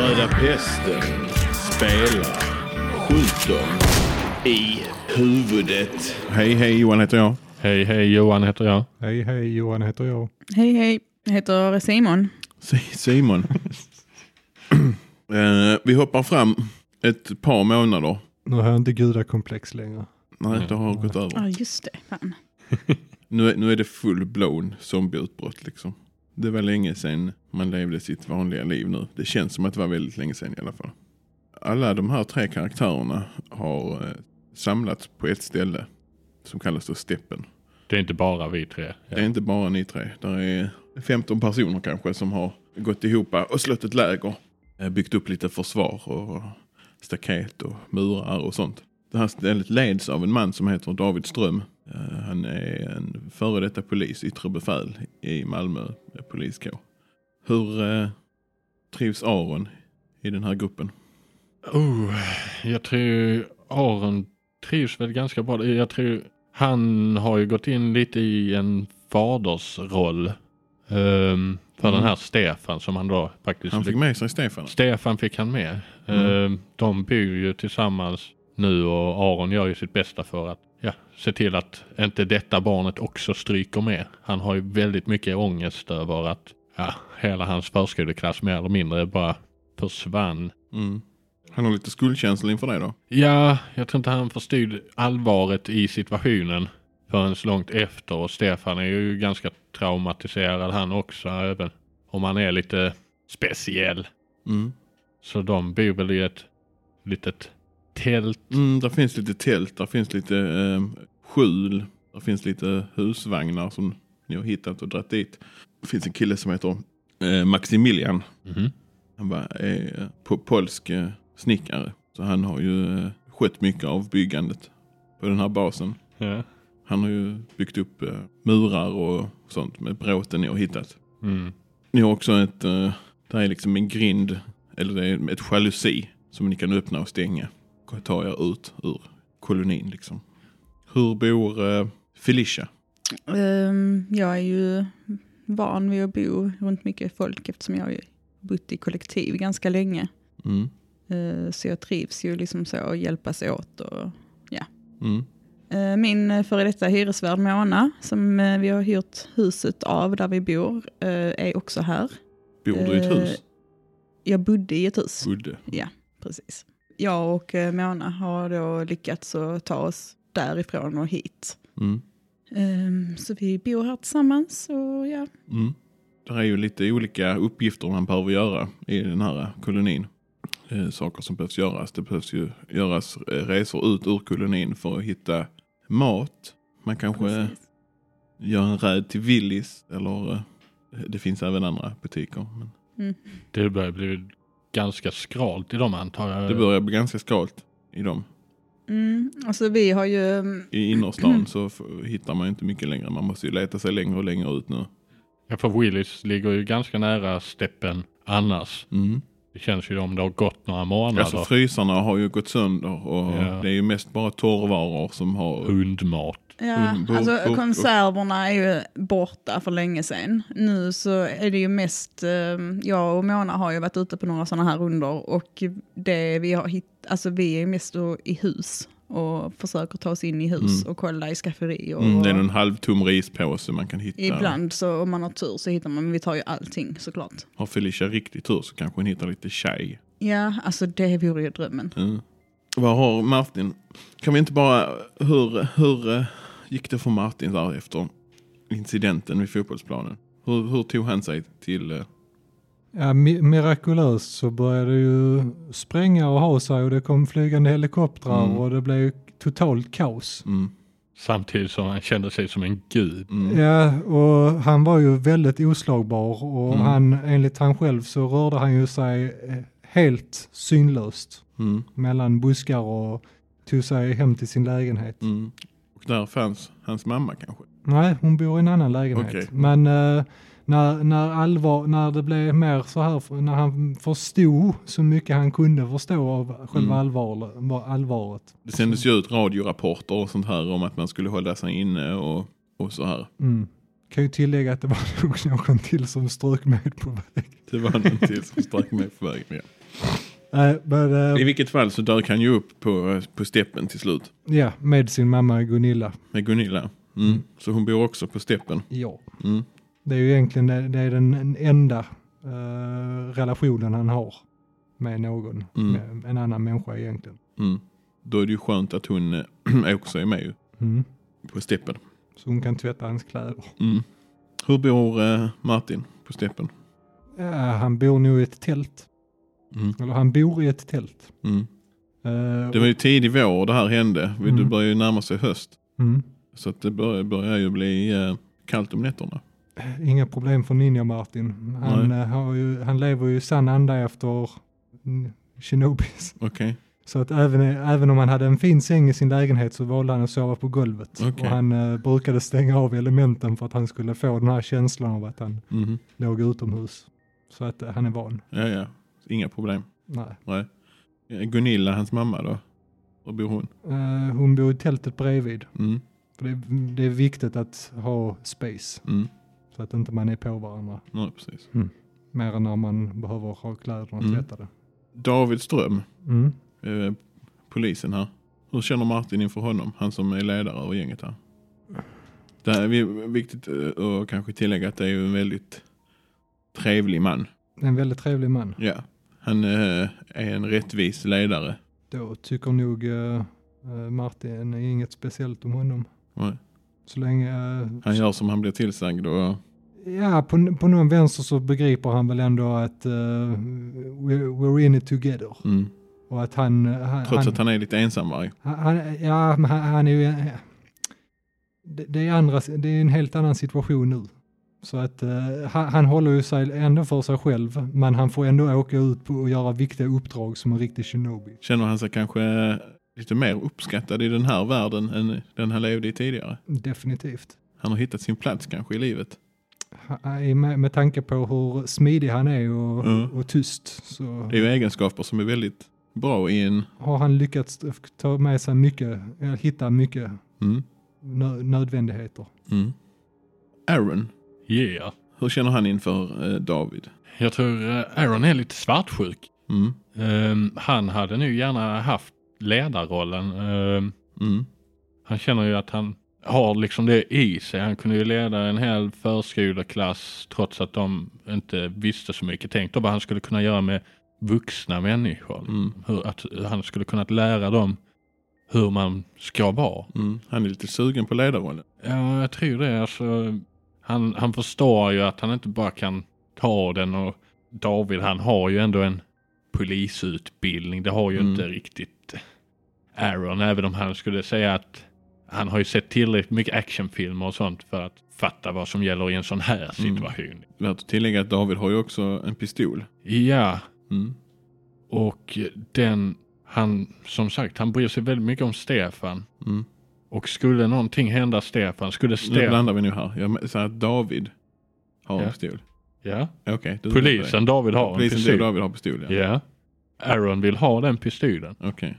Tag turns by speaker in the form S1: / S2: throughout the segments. S1: Hästen spelar, skjuter i huvudet. Hej, hej, Johan heter jag.
S2: Hej, hej, Johan heter jag.
S3: Hej, hej, Johan heter jag.
S4: Hej hej, jag heter Simon.
S1: Si- Simon. Eh, vi hoppar fram ett par månader.
S3: Nu har jag inte gudakomplex längre.
S1: Nej, det har gått
S4: Ja
S1: över.
S4: just det, fan.
S1: Nu är, nu är det full-blown zombieutbrott liksom. Det var länge sedan man levde sitt vanliga liv nu. Det känns som att det var väldigt länge sedan i alla fall. Alla de här tre karaktärerna har eh, samlats på ett ställe som kallas då Steppen.
S2: Det är inte bara vi tre.
S1: Det är inte bara ni tre. Det är 15 personer kanske som har gått ihop och slått ett läger. Eh, Byggt upp lite försvar och staket och murar och sånt. Det här stället leds av en man som heter David Ström. Eh, Han är en före detta polis, yttre befäl i Malmö eh, poliskår. Hur eh, trivs Aron i den här gruppen?
S2: Oh, jag tror Aron trivs väl ganska bra. Jag tror han har ju gått in lite i en fadersroll. ehm, för
S1: Mm.
S2: den här Stefan som han då faktiskt...
S1: Han fick
S2: lyck-
S1: med sig Stefan.
S2: Stefan fick han med.
S1: Mm.
S2: Ehm, de bor ju tillsammans nu och Aron gör ju sitt bästa för att ja, se till att inte detta barnet också stryker med. Han har ju väldigt mycket ångest över att ja, hela hans förskoleklass mer eller mindre bara försvann.
S1: Mm. Han har lite skuldkänsla inför det då.
S2: Ja, jag tror inte han förstod allvaret i situationen förrän långt efter och Stefan är ju ganska traumatiserad han också även om han är lite speciell.
S1: Mm.
S2: Så de bor väl i ett litet tält.
S1: Mm, där finns lite tält, där finns lite eh, skjul, där finns lite husvagnar som ni har hittat och dratt dit. Det finns en kille som heter eh, Maximilian.
S2: Mhm.
S1: Han var, är eh, po- polsk eh, snickare. Så han har ju eh, skött mycket av byggandet på den här basen.
S2: Ja.
S1: Han har ju byggt upp eh, murar och sånt med bråten ni har hittat.
S2: Mm.
S1: Ni har också ett, eh, det här är liksom en grind, eller det är ett jalusi som ni kan öppna och stänga. Och ta er ut ur kolonin liksom. Hur bor eh, Felicia?
S4: Ehm, jag är ju van vid att bo runt mycket folk eftersom jag har ju bott i kollektiv ganska länge.
S1: Mm.
S4: Eh, så jag trivs ju liksom så att hjälpas åt. Och,
S1: Mm.
S4: Eh, min eh, före detta hyresvärd Mona som eh, vi har hyrt huset av där vi bor eh, är också här.
S1: Bor du i ett
S4: Eh,
S1: hus?
S4: Jag bodde i ett hus.
S1: Udde.
S4: Precis. Jag och eh, Mona har då lyckats att ta oss därifrån och hit.
S1: Mm.
S4: Ehm, så vi bor här tillsammans och ja.
S1: Mm. Det är ju lite olika uppgifter man behöver göra i den här kolonin. Eh, saker som behövs göras. Det behövs ju göras eh, resor ut ur kolonin för att hitta mat. Man kanske
S4: precis.
S1: gör en räd till Willys eller eh, det finns även andra butiker. Men
S4: Mm.
S2: Det börjar bli ganska skralt i dem antar jag.
S1: det börjar bli ganska skralt i dem.
S4: Mm. Alltså vi har ju, mm,
S1: I innerstan så f- hittar man ju inte mycket längre. Man måste ju leta sig längre och längre ut nu.
S2: Ja, för Willys ligger ju ganska nära steppen annars.
S1: Mm.
S2: Det känns ju om det har gått några månader.
S1: Alltså frysarna har ju gått sönder och
S2: Ja.
S1: det är ju mest bara torrvaror som har...
S2: Hundmat.
S4: ja,
S1: Mm, bo-
S4: alltså
S1: bo- bo-
S4: konserverna är ju borta för länge sedan. Nu så är det ju mest, ehm, jag och Mona har ju varit ute på några sådana här rundor och det vi har hittat, alltså vi är ju mest då i hus och försöker ta oss in i hus och kolla i skafferier. Och
S1: Mm, det är en halvtom rispåse man kan hitta.
S4: Ibland så om man har tur så hittar man, men vi tar ju allting såklart.
S1: Har Felicia riktigt tur så kanske hon hittar lite tjej.
S4: Ja, alltså det vore ju drömmen.
S1: Mm. Vad har Martin? Kan vi inte bara... Hur, hur eh, gick det för Martin där efter incidenten vid fotbollsplanen? Hur, hur tog han sig till... eh,
S3: Ja, mi- mirakulöst så började det ju spränga och ha sig och det kom flygande helikoptrar
S1: Mm.
S3: och det blev totalt kaos.
S1: Mm,
S2: Samtidigt som han kände sig som en gud.
S1: mm,
S3: Ja, och han var ju väldigt oslagbar och
S1: Mm.
S3: han, enligt han själv så rörde han ju sig eh, helt synlöst
S1: mm,
S3: mellan buskar och tog sig hem till sin lägenhet.
S1: mm. Och där fanns hans mamma kanske?
S3: Nej, hon bor i en annan lägenhet.
S1: Okej.
S3: Men eh, när, när, allvar, när det blev mer så här, när han förstod så mycket han kunde förstå av själva
S1: Mm.
S3: allvar, var allvaret.
S1: Det sändes ju ut radiorapporter och sånt här om att man skulle hålla sig inne och, och så här.
S3: Mm. Kan ju tillägga att det var nog någon till som strök med på väg.
S1: Det var någon till som stack mig på vägen. Ja.
S3: Eh, but, eh,
S1: I vilket fall så dök han ju upp på, på steppen till slut.
S3: ja, med sin mamma Gunilla.
S1: Med Gunilla. Mm. Så hon bor också på steppen.
S3: Ja.
S1: Mm.
S3: Det är ju egentligen det, det är den enda eh, relationen han har med någon,
S1: Mm.
S3: med en annan människa egentligen.
S1: Mm. Då är det ju skönt att hon eh, också är med ju
S3: Mm.
S1: på steppen.
S3: Så hon kan tvätta hans kläder.
S1: Mm. Hur bor eh, Martin på steppen?
S3: Ja, Eh, han bor nog i ett tält.
S1: Mm.
S3: Eller han bor i ett tält.
S1: Mm.
S3: Eh,
S1: Det var ju tidig vår det här hände. Vi- Det
S3: Mm.
S1: börjar ju närma sig höst.
S3: mm.
S1: Så att det börjar, börjar ju bli eh, kallt om nätterna.
S3: Inga problem för Ninja Martin. Han, eh, har ju, han lever ju i sann anda efter mm, Shinobis.
S1: Okej.
S3: Så att även, även om han hade en fin säng i sin lägenhet så valde han att sova på golvet.
S1: Okej.
S3: Och han eh, brukade stänga av elementen för att han skulle få den här känslan av att han
S1: Mhm.
S3: låg utomhus. Så att eh, han är van.
S1: Ja, ja. Inga problem.
S3: Nej.
S1: Eh, Gunilla, hans mamma då? Var bor hon?
S3: Eh, hon bor i tältet bredvid.
S1: Mm.
S3: För det, det är viktigt att ha space
S1: Mm.
S3: så att inte man är på varandra.
S1: Ja, precis.
S3: Mer än när man behöver ha kläderna
S1: Mm.
S3: tvättade.
S1: David Ström,
S3: Mm.
S1: eh, polisen här. Hur känner Martin inför honom? Han som är ledare av gänget här. Det här är vi- viktigt eh, att kanske tillägga att det är ju en väldigt trevlig man.
S3: En väldigt trevlig man.
S1: Ja. Han eh, är en rättvis ledare.
S3: Då tycker nog eh, eh, Martin inget speciellt om honom.
S1: Nej.
S3: Så länge... eh,
S1: Han gör som han blir tillsagd och
S3: Ja, på, på någon vänster så begriper han väl ändå att eh, we're, we're in it together.
S1: mm,
S3: Och att han... eh, han
S1: trots
S3: han,
S1: att han är lite ensamvarg.
S3: han, han Ja, men han, han är ju... eh, Det, det, är andra, det är en helt annan situation nu. Så att eh, han, han håller ju sig ändå för sig själv, men han får ändå åka ut på och göra viktiga uppdrag som en riktig shinobi.
S1: Känner han sig kanske eh, lite mer uppskattad i den här världen än den han levde i tidigare.
S3: Definitivt.
S1: Han har hittat sin plats kanske i livet.
S3: Han- han är Med, med tanke på hur smidig han är och,
S1: Mm.
S3: och tyst så
S1: Det är ju egenskaper som är väldigt bra i en...
S3: har han lyckats ta med sig mycket, eller hitta mycket
S1: Mm,
S3: nö- nödvändigheter.
S1: mm. Aaron,
S2: Yeah.
S1: hur känner han inför eh, David?
S2: Jag tror eh, Aaron är lite svartsjuk.
S1: Mm,
S2: Ehm, han hade nu gärna haft ledarrollen. Ehm,
S1: mm,
S2: han känner ju att han har liksom det i sig. Han kunde ju leda en hel förskoleklass trots att de inte visste så mycket. Tänk då vad han skulle kunna göra med vuxna människor.
S1: mm,
S2: Hur, att han skulle kunna lära dem hur man ska vara.
S1: mm. Han är lite sugen på ledarrollen.
S2: Ja, jag tror det. Alltså, han, han förstår ju att han inte bara kan ta den och David han har ju ändå en polisutbildning. Det har ju
S1: Mm.
S2: inte riktigt Aaron, även om han skulle säga att han har ju sett tillräckligt mycket actionfilmer och sånt för att fatta vad som gäller i en sån här
S1: Mm.
S2: situation.
S1: Värt att tillägga att David har ju också en pistol.
S2: Ja,
S1: Mm,
S2: och den, han, som sagt, han bryr sig väldigt mycket om Stefan.
S1: mm.
S2: Och skulle någonting hända Stefan, skulle
S1: Nu
S2: Stefan,
S1: blandar vi nu här. Jag säger att David har en
S2: Ja.
S1: pistol.
S2: ja,
S1: Okej. du-
S2: polisen David har en
S1: Polisen
S2: pistol.
S1: du David har pistol, ja.
S2: Ja. Aaron vill ha den pistolen.
S1: Okej.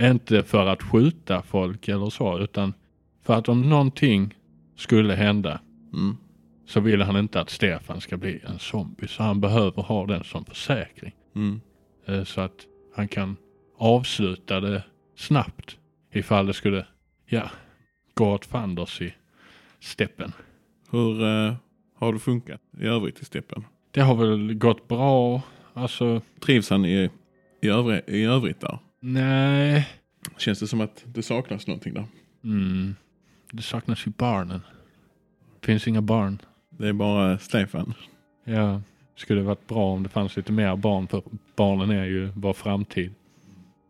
S2: Inte för att skjuta folk eller så, utan för att om någonting skulle hända
S1: Mm.
S2: så vill han inte att Stefan ska bli en zombie. Så han behöver ha den som försäkring.
S1: Mm.
S2: Eh, Så att han kan avsluta det snabbt ifall det skulle, ja, gå åt fanders i steppen.
S1: Hur eh, har det funkat i övrigt i steppen?
S2: Det har väl gått bra, alltså,
S1: Trivs han i, i, övre, i övrigt där?
S2: nej.
S1: Känns det som att det saknas någonting där?
S2: Mm. Det saknas ju barnen. Finns inga barn.
S1: Det är bara Stefan.
S2: Ja, skulle varit bra om det fanns lite mer barn för barnen är ju vår framtid.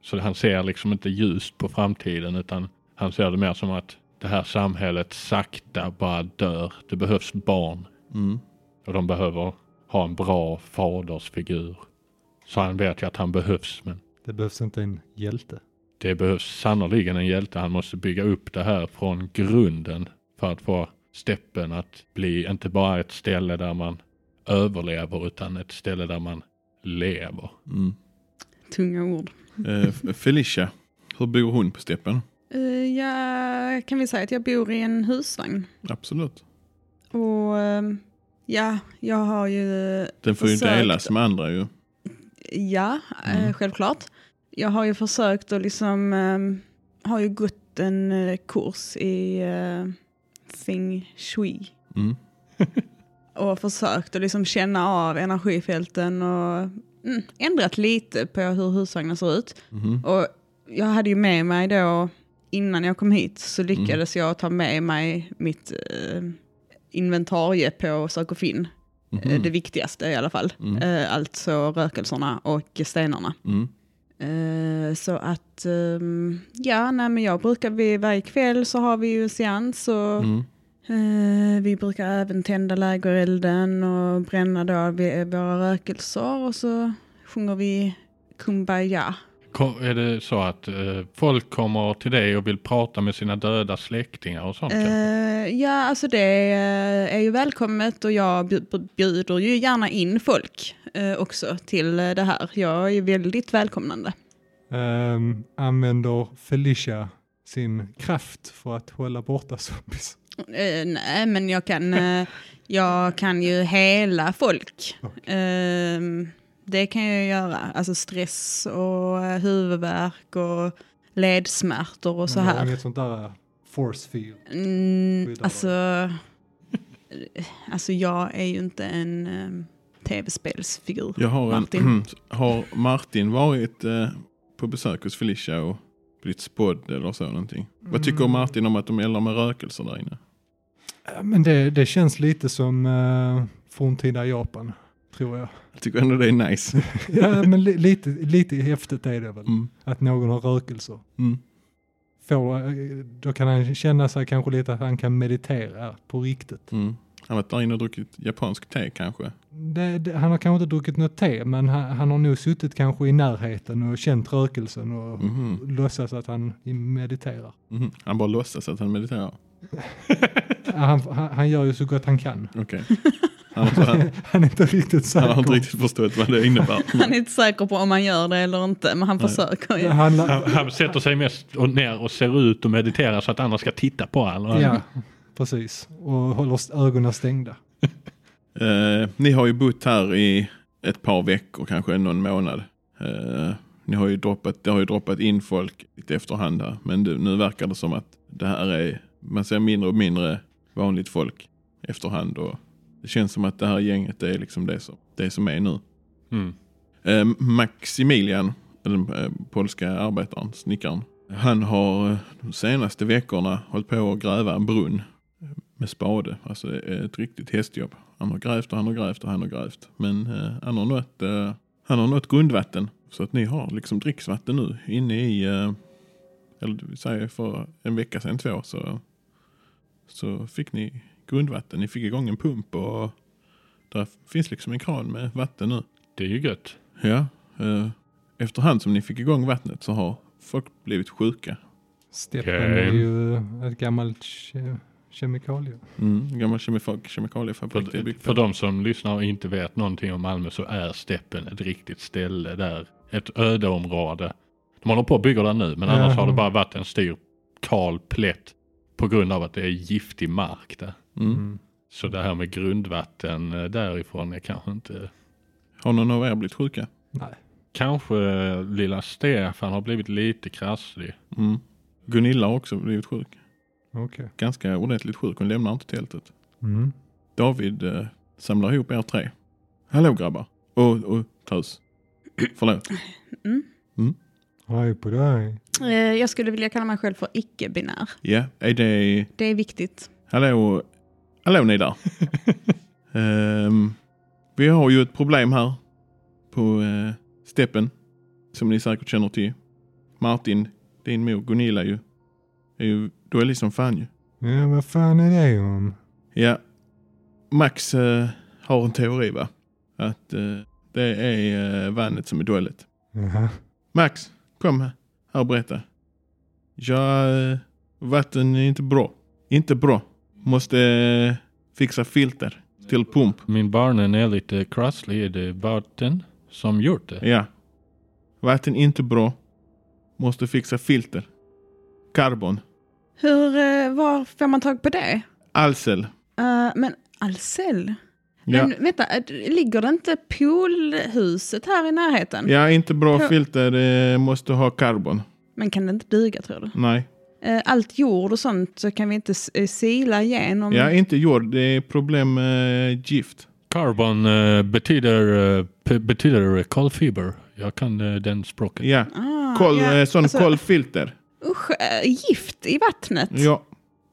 S2: Så han ser liksom inte ljust på framtiden utan han ser det mer som att det här samhället sakta bara dör. Det behövs barn
S1: Mm.
S2: och de behöver ha en bra fadersfigur. Så han vet ju att han behövs men
S3: Det behövs inte en hjälte.
S2: det behövs sannerligen en hjälte. Han måste bygga upp det här från grunden för att få steppen att bli inte bara ett ställe där man överlever utan ett ställe där man lever.
S1: Mm.
S4: Tunga ord.
S1: Eh, F- Felicia, hur bor hon på steppen?
S4: Eh, ja, kan vi säga att jag bor i en husvagn.
S1: Absolut.
S4: Och eh, ja, jag har ju...
S1: Den får ju
S4: Försökt.
S1: delas med andra ju.
S4: ja, eh,
S2: Mm.
S4: självklart. Jag har ju försökt att liksom, eh, har ju gått en eh, kurs i eh, feng shui.
S1: Mm.
S4: och försökt att liksom känna av energifälten och mm, ändrat lite på hur husvagnen ser ut.
S1: Mhm.
S4: Och jag hade ju med mig då, innan jag kom hit, så lyckades jag ta med mig mitt eh, inventarie på sök och finn. Eh,
S1: Mhm.
S4: Det viktigaste i alla fall.
S1: Mm.
S4: Eh, alltså rökelserna och stenarna.
S1: Mm.
S4: Eh, så att, ehm, ja, nej, men jag brukar, vid varje kväll så har vi ju seans och
S1: Mm.
S4: Eh, vi brukar även tända lägerelden och bränna då vi- våra rökelser och så sjunger vi Kumbaya.
S2: Ko- Är det så att eh, folk kommer till dig och vill prata med sina döda släktingar och sånt? kanske?
S4: Eh, ja, alltså det eh, är ju välkommet och jag bjud- bjuder ju gärna in folk eh, också till eh, det här. Jag är ju väldigt välkomnande.
S3: Ehm, använder Felicia sin kraft för att hålla borta zombies?
S4: Eh, nej, men jag kan, eh, jag kan ju hela folk. Ehm, det kan jag göra. Alltså stress och eh, huvudvärk och ledsmärtor och så
S3: Man har
S4: här.
S3: Inget sånt där eh, force field.
S4: Mm,
S3: Skyddar
S4: alltså, eh, alltså, jag är ju inte en eh, tv-spelsfigur.
S1: Jag har, En,
S4: Martin.
S1: har Martin varit eh, på besök hos Felicia och blivit spådd eller så någonting? Vad tycker
S3: Mm.
S1: Martin om att de eldar med rökelser där inne?
S3: Ja, Eh, Men det, det känns lite som uh, forntida Japan, tror jag.
S1: Jag tycker ändå det är nice.
S3: Ja, men li, lite, lite häftigt är det väl,
S1: Mm.
S3: att någon har rökelser.
S1: Mm.
S3: Får, eh, då kan han känna sig kanske lite att han kan meditera på riktigt.
S1: Mm. Han har varit där inne och druckit japansk te kanske.
S3: Det, det, han har kanske inte druckit något te, men han, han har nog suttit kanske i närheten och känt rökelsen och
S1: Mhm.
S3: låtsas att han mediterar.
S1: Mhm. Han bara låtsas att han mediterar.
S3: Han, han, han gör ju så gott han kan.
S1: Okej. Han, har- han,
S3: Han är inte riktigt
S1: han har
S3: säker.
S1: inte riktigt förstått vad det innebär.
S4: Han är inte säker på om han gör det eller inte, men han försöker ju.
S3: Han, la-
S2: Han, han sätter sig mest och ner och ser ut och mediterar så att andra ska titta på honom.
S3: ja, precis. Och håller s- ögonen stängda.
S1: Eh, ni har ju bott här i ett par veckor, kanske någon månad. Eh, ni har ju droppat, det har ju droppat in folk lite efterhand här. Men det, nu verkar det som att det här är, man ser mindre och mindre vanligt folk efterhand. Och det känns som att det här gänget är liksom det som, det som är nu.
S2: Mm.
S1: Eh, Maximilian, den eh, polska arbetaren, snickaren. Han har eh, de senaste veckorna hållit på att gräva en brunn med spade. Alltså det är ett riktigt hästjobb. Han har grävt och han har grävt och han har grävt. Men eh, han, har nått, eh, han har nått grundvatten. Så att ni har liksom dricksvatten nu inne i, eh, eller vi säger för en vecka sedan, två, så, så fick ni grundvatten. Ni fick igång en pump och där finns liksom en kran med vatten nu.
S2: Det är ju gött.
S1: Ja, eh, efterhand som ni fick igång vattnet så har folk blivit sjuka.
S3: Steppen
S2: Okej.
S3: är ju ett gammalt ke kemikalie.
S1: Mm. Gammal kemifak- kemikaliefabrik. det är
S2: För,
S1: byggt
S2: för
S1: på.
S2: de som lyssnar och inte vet någonting om Malmö så är steppen ett riktigt ställe där. Ett ödeområde. De håller på att bygga där nu men
S3: Ja.
S2: annars har det bara varit en styr kal plätt på grund av att det är giftig mark där.
S1: Mm.
S2: Så det här med grundvatten eh, därifrån är kanske inte...
S1: Har någon av er blivit sjuka?
S3: Nej.
S2: Kanske eh, lilla Stefan har blivit lite krasslig.
S1: Mm. Gunilla har också blivit sjuk.
S3: Okej.
S1: Ganska ordentligt sjuk. Hon lämnar inte tältet. Mm. David eh, samlar ihop er tre. Hallå grabbar. Och, och tös. Förlåt.
S4: Mm.
S3: Hej på dig.
S4: Eh, jag skulle vilja kalla mig själv för icke-binär.
S1: Ja, är det...
S4: Det är viktigt.
S1: Hallå, hallå ni där. Ehm, vi har ju ett problem här på eh, steppen som ni säkert känner till. Martin, din mor Gunilla ju, är ju dålig som fan ju.
S3: Ja, vad fan är det om?
S1: Ja, Max eh, har en teori va? Att eh, det är eh, vannet som är dåligt.
S3: Jaha.
S1: Max, kom här och berätta. Jag, eh, vatten är inte bra. Inte bra. Måste eh, fixa filter till pump.
S2: Min barnen är lite krasslig. Är det vatten som gjort det?
S1: Ja. Vatten inte bra. Måste fixa filter. Karbon.
S4: Hur, eh, var får man tag på det?
S1: Alsel.
S4: Eh, men Ahlsell?
S1: Ja.
S4: Men vänta, äh, ligger det inte poolhuset här i närheten?
S1: ja, inte bra
S4: På-
S1: filter. Det måste ha karbon.
S4: Men kan det inte duga tror du?
S1: Nej.
S4: Eh, Allt jord och sånt så kan vi inte s- eh, sila igenom.
S1: Ja, inte jord. Det är problem med gift.
S2: Carbon eh, betyder, eh, p- betyder kolfiber. Jag kan eh, den språket.
S1: Ja,
S4: Ah,
S1: kol,
S4: ja.
S1: eh, sån
S4: Alltså,
S1: kolfilter.
S4: Usch, eh, gift i vattnet.
S1: Ja.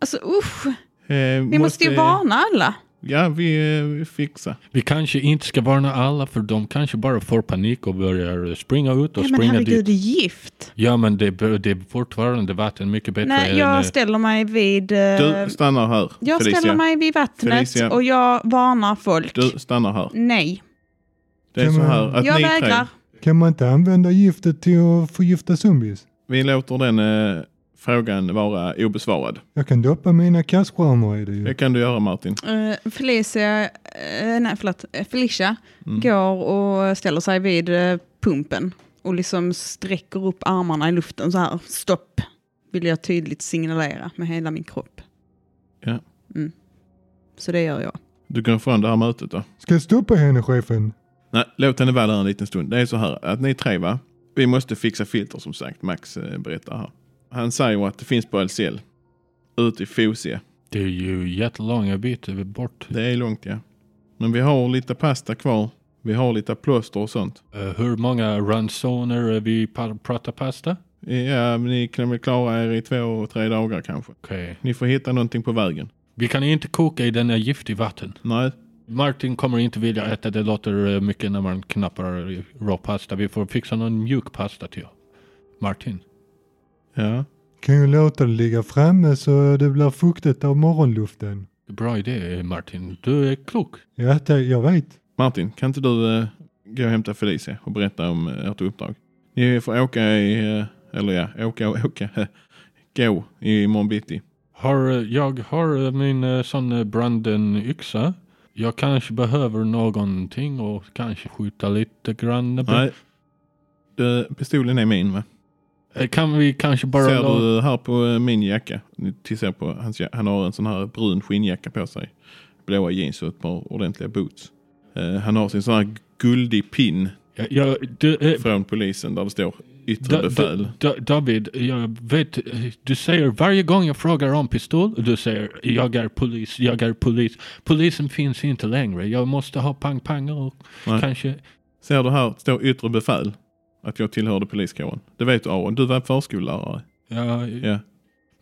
S4: Alltså usch,
S1: Eh,
S4: vi måste, ju varna alla.
S1: Ja, vi, eh, vi fixar.
S2: Vi kanske inte ska varna alla för de kanske bara får panik och börjar springa ut och
S4: Ja, men
S2: springa
S4: herregud,
S2: dit.
S4: gift.
S2: Ja men det, be- det är fortfarande vatten mycket bättre
S4: Nej,
S2: än... eh,
S4: jag ställer mig vid... eh,
S1: Du stannar här,
S4: jag
S1: Felicia.
S4: ställer mig vid vattnet
S1: Felicia.
S4: och jag varnar folk.
S1: Du stannar här.
S4: Nej,
S1: Det är
S3: Kan
S1: så
S3: man-
S1: här att
S4: jag
S1: ni
S4: vägrar.
S1: tre,
S3: Kan man inte använda giftet till att förgifta zombies?
S1: vi låter den eh, frågan vara obesvarad.
S3: Jag kan doppa mina kastskärmar i det
S1: Det
S3: ju.
S1: kan du göra Martin.
S4: Eh, Felicia, eh, nej förlåt, eh, Felicia
S1: Mm.
S4: går och ställer sig vid eh, pumpen och liksom sträcker upp armarna i luften så här. Stopp, vill jag tydligt signalera med hela min kropp.
S1: Ja.
S4: Mm. Så det gör jag.
S1: Du går ifrån det här mötet då.
S3: Ska jag stoppa henne chefen?
S1: Nej, låt henne vara där en liten stund. Det är så här att ni tre va, vi måste fixa filter som sagt. Max eh, berättar här. Han säger att det finns på LCL. Ut i Fosie.
S2: Det är ju jättelånga bitar bort.
S1: Det är långt ja. Men vi har lite pasta kvar. Vi har lite plåster och sånt.
S2: Eh, hur många ransoner eh, vi pa- pratar pasta?
S1: Ja, men ni kan väl klara er i två, tre dagar kanske.
S2: Okej.
S1: Ni får hitta någonting på vägen.
S2: Vi kan inte koka i denna gift i vatten.
S1: Nej,
S2: Martin kommer inte vilja äta, det låter eh, mycket när man knappar i rå pasta. Vi får fixa någon mjuk pasta till Martin.
S1: ja.
S3: Kan ju låta det ligga framme så det blir fuktigt av morgonluften.
S2: Bra idé eh, Martin, du är klok.
S3: Ja, det, jag vet.
S1: Martin, kan inte du eh, gå och hämta Felicia och berätta om eh, ert uppdrag? Ni får åka i, eh, eller ja, åka och åka, gå i imorgon bitti.
S2: Har, eh, jag har eh, min eh, sån eh, branden-yxa. Jag kanske behöver någonting och kanske skjuta lite grann.
S1: Nej, du, pistolen är min va?
S2: Eh, Kan vi kanske bara...
S1: Ser
S2: lå-
S1: du här på eh, min jacka? Ni tittar på hans ja- Han har en sån här brun skinnjacka på sig. Blåa jeans och ett par ordentliga boots. Eh, Han har sin sån här guldig pin
S2: Ja, ja, du, eh,
S1: från polisen där det står yttre
S2: Da-
S1: befäl.
S2: Da- Da- David, jag vet, eh, du säger varje gång jag frågar om pistol, du säger jag är polis, jag är polis. Polisen finns inte längre, jag måste ha pang-pang och
S1: Nej.
S2: kanske...
S1: Ser du här, det står yttre befäl. Att jag tillhörde poliskåren. Det vet du Aron, du var förskollärare.
S2: Ja,
S1: Ja.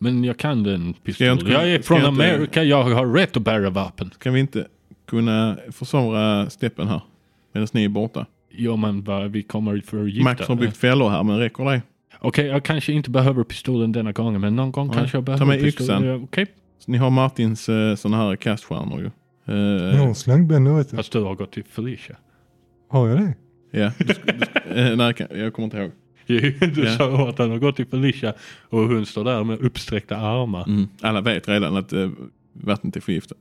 S2: Men jag kan den
S1: jag
S2: pistol.
S1: inte
S2: Jag,
S1: kunna-
S2: är
S1: ska
S2: från
S1: jag inte-
S2: Amerika, jag har rätt att bära vapen.
S1: Kan vi inte kunna försvara steppen här? Medan ni är borta.
S2: Jo men va, vi kommer för gifta.
S1: Max har byggt fällor här, men räcker det?
S2: Okej, jag kanske inte behöver pistolen denna gången, men någon gång
S1: Nej,
S2: kanske jag
S1: ta
S2: behöver
S1: med
S2: pistolen.
S1: yxan.
S2: Ja, Okej,
S1: Så ni har Martins eh, såna här kaststjärnor ju. Eh,
S3: Jag har en slangbänder vet du.
S2: fast du har gått till Felicia.
S3: Har jag det?
S1: Ja. Du, sk- du, sk- eh, nej, kan- jag kommer inte ihåg.
S2: du
S1: Ja.
S2: sa att han har gått till Felicia och hon står där med uppsträckta armar.
S1: Mm. Alla vet redan att eh, vattnet är förgiftat.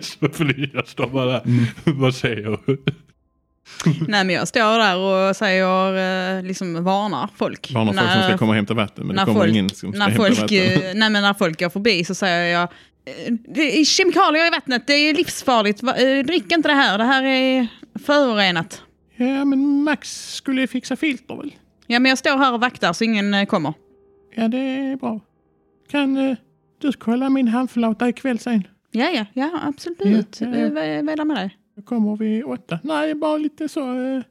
S2: Så Felicia står bara där.
S1: Mm.
S2: Vad säger hon?
S4: Nej men jag står där och säger, eh, liksom varnar folk.
S1: Varnar folk som ska komma och hämta vatten, men det
S4: när
S1: kommer
S4: folk-
S1: ingen som ska
S4: när
S1: hämta
S4: folk, eh,
S1: vatten.
S4: nej, men när folk går förbi så säger jag, eh, det är kemikalier i vattnet, det är livsfarligt, Va- eh, drick inte det här, det här är förorenat.
S1: Ja, men Max skulle fixa filter väl?
S4: Ja men jag står här och vaktar så ingen eh, kommer.
S1: Ja, det är bra. Kan eh, du kolla min handflata ikväll sen?
S4: Ja ja, ja absolut.
S1: Ja,
S4: Ja,
S1: ja, ja.
S4: Vad vad är det med dig?
S1: Då kommer vi åtta. Nej, bara lite så eh,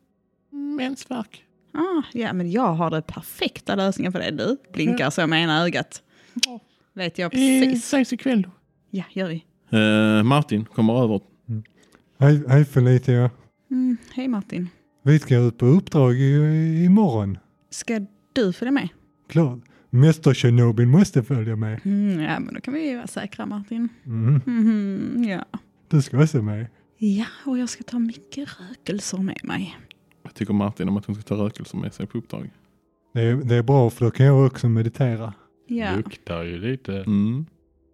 S1: mensvärk.
S4: Ah, ja men jag har den perfekta lösningen för det du, blinkar så med ena ögat.
S1: Ja.
S4: Vet jag
S1: Eh,
S4: precis.
S1: ses ikväll då.
S4: Ja, gör vi.
S1: Eh, Martin kommer över.
S3: Hej, hej Felicia.
S4: Mm, hej Martin,
S3: Vi ska ut på uppdrag i, i- imorgon.
S4: ska du följa med?
S3: Klart. Mäster Tjernobyl måste följa med.
S4: Mm, ja men då kan vi vara säkra Martin.
S3: Mm.
S4: Mhm, ja.
S3: Du ska också med.
S4: Ja, och jag ska ta mycket rökelser med mig.
S1: Vad tycker Martin om att hon ska ta rökelse med sig på uppdrag?
S3: Det är, det är bra för då kan jag också meditera.
S4: Ja.
S2: Luktar ju lite.
S1: Mm.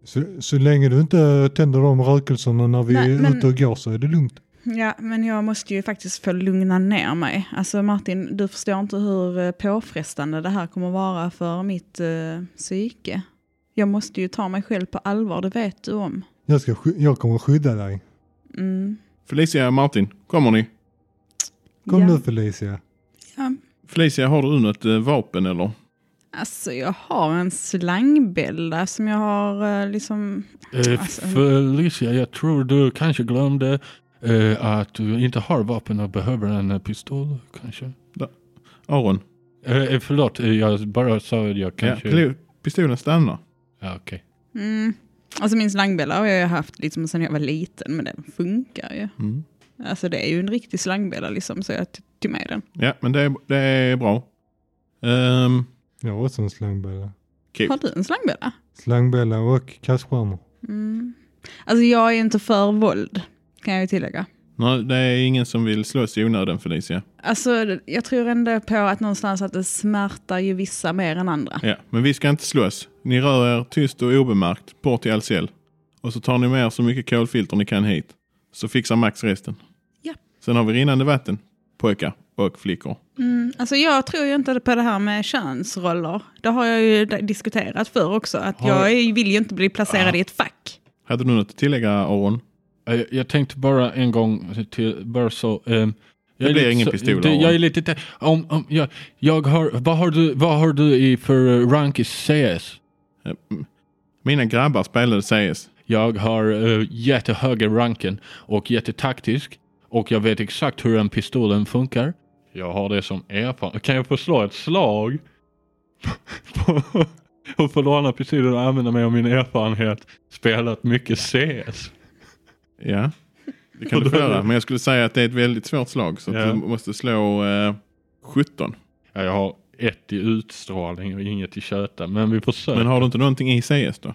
S3: Så, så länge du inte tänder de rökelserna när vi
S4: Nej,
S3: är
S4: men-
S3: ute och går så är det lugnt.
S4: ja, men jag måste ju faktiskt få lugna ner mig. Alltså Martin, du förstår inte hur eh, påfrestande det här kommer vara för mitt eh, psyke. Jag måste ju ta mig själv på allvar, det vet du om.
S3: Jag, ska, sky- jag kommer skydda dig.
S4: Mm.
S1: Felicia, Martin, kommer ni?
S3: Kom
S4: ja.
S3: nu Felicia.
S4: Ja.
S1: Felicia, har du något eh, vapen eller?
S4: Alltså jag har en slangbälla som jag har eh, liksom...
S2: Eh,
S4: Alltså-
S2: Felicia, jag tror du kanske glömde eh, att du inte har vapen och behöver en eh, pistol kanske.
S1: Aron?
S2: Eh, eh, förlåt, eh, jag bara sa att jag kanske...
S1: Ja, pil- pistolen stannar.
S2: Ja, okej.
S4: Mm. Alltså min slangbälla har jag ju haft liksom sedan jag var liten, men den funkar ju.
S1: Mm.
S4: Alltså det är ju en riktig slangbälla liksom, så jag t- tog med den.
S1: Ja, men det är, det är bra. Ehm,
S3: Jag har också en slangbälla.
S1: kul.
S4: Har du en slangbälla?
S3: Slangbälla och kastskärmar.
S4: Mm. Alltså jag är ju inte för våld, kan jag ju tillägga.
S1: Nej, det är ingen som vill slåss i onödan Felicia.
S4: Alltså jag tror ändå på att någonstans att det smärtar ju vissa mer än andra.
S1: Ja, men vi ska inte slåss. Ni rör er tyst och obemärkt bort till Alcell. Och så tar ni med er så mycket kolfilter ni kan hit. Så fixar Max resten.
S4: Ja.
S1: Sen har vi rinnande vatten, pojkar och flickor.
S4: Mm, alltså jag tror ju inte på det här med könsroller. Det har jag ju d- diskuterat för också. Att
S2: Har-
S4: jag är- vill ju inte bli placerad i ett fack.
S1: Hade du något att tillägga Aron?
S2: Eh, Jag tänkte bara en gång till, bara så. ehm, jag
S1: blir
S2: är lite
S1: ingen
S2: så-
S1: pistol,
S2: det-
S1: Aron.
S2: Jag är lite... te- Om, om, jag, jag har, vad, har du, vad har du i för eh, rank i CS?
S1: Eh, mm. Mina grabbar spelade CS.
S2: Jag har uh, jättehöga ranken och jättetaktisk och jag vet exakt hur en pistolen funkar. Jag har det som erfarenhet. Kan jag få slå ett slag? På- och få låna pistolen och använda mig av min erfarenhet. Spelat mycket CS.
S1: Ja, det kan du få göra. Men jag skulle säga att det är ett väldigt svårt slag. Så
S2: Ja.
S1: att du måste slå eh, 17.
S2: Ja, jag har ett i utstrålning och inget i köta. Men vi försöker.
S1: Men har du inte någonting i CS då?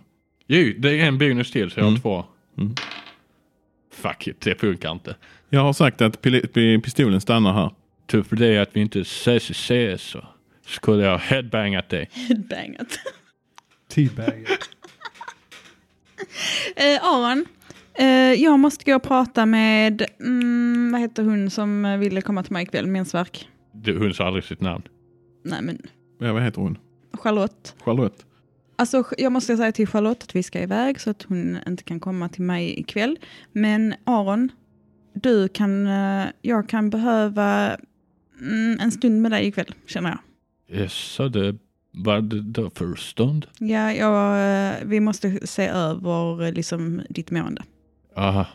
S2: Jo, det är en bonus till så jag har
S1: Mm.
S2: två.
S1: Mm.
S2: Fuck it, det funkar inte.
S1: Jag har sagt att pil- pi- pistolen stannar här.
S2: Tur för dig att vi inte ses i CS så skulle jag headbangat dig.
S4: Headbangat.
S3: Teabag.
S4: Eh, Aron, eh, jag måste gå och prata med, mm, vad heter hon som eh, ville komma till mig ikväll, mensvärk?
S2: Du, hon sa aldrig sitt namn.
S4: Nej men,
S1: Ja, vad heter hon?
S4: Charlotte.
S1: Charlotte.
S4: Alltså jag måste säga till Charlotte att vi ska iväg så att hon inte kan komma till mig ikväll. Men Aron, du kan, eh, jag kan behöva mm, en stund med dig ikväll känner jag.
S2: Jaså, det var det då för stund?
S4: Ja, jag, eh, vi måste se över eh, liksom, ditt mående.
S2: Aha.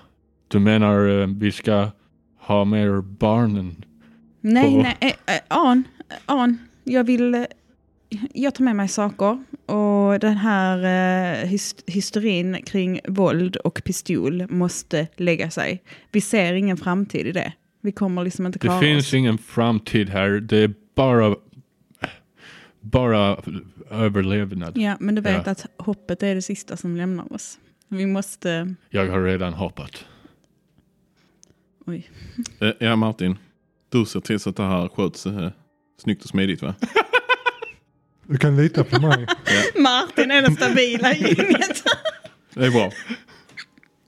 S2: Du menar eh, vi ska ha med er barnen?
S4: Nej,
S2: Åh.
S4: nej, eh, eh, Aron, eh, Aron, jag vill... eh, Jag tar med mig saker och den här eh, hys- hysterin kring våld och pistol måste lägga sig. Vi ser ingen framtid i det. Vi kommer liksom inte
S2: Det
S4: klara
S2: finns
S4: oss.
S2: ingen framtid här. Det är bara, bara överlevnad.
S4: Ja, men du vet
S2: Ja.
S4: att hoppet är det sista som lämnar oss. Vi måste...
S2: Jag har redan hoppat.
S4: Oj.
S1: Eh, ja, Martin. Du ser till så att det här sköts eh, snyggt och smidigt va?
S3: Du kan lita på mig.
S4: Martin är den stabila i gänget.
S1: Det är bra.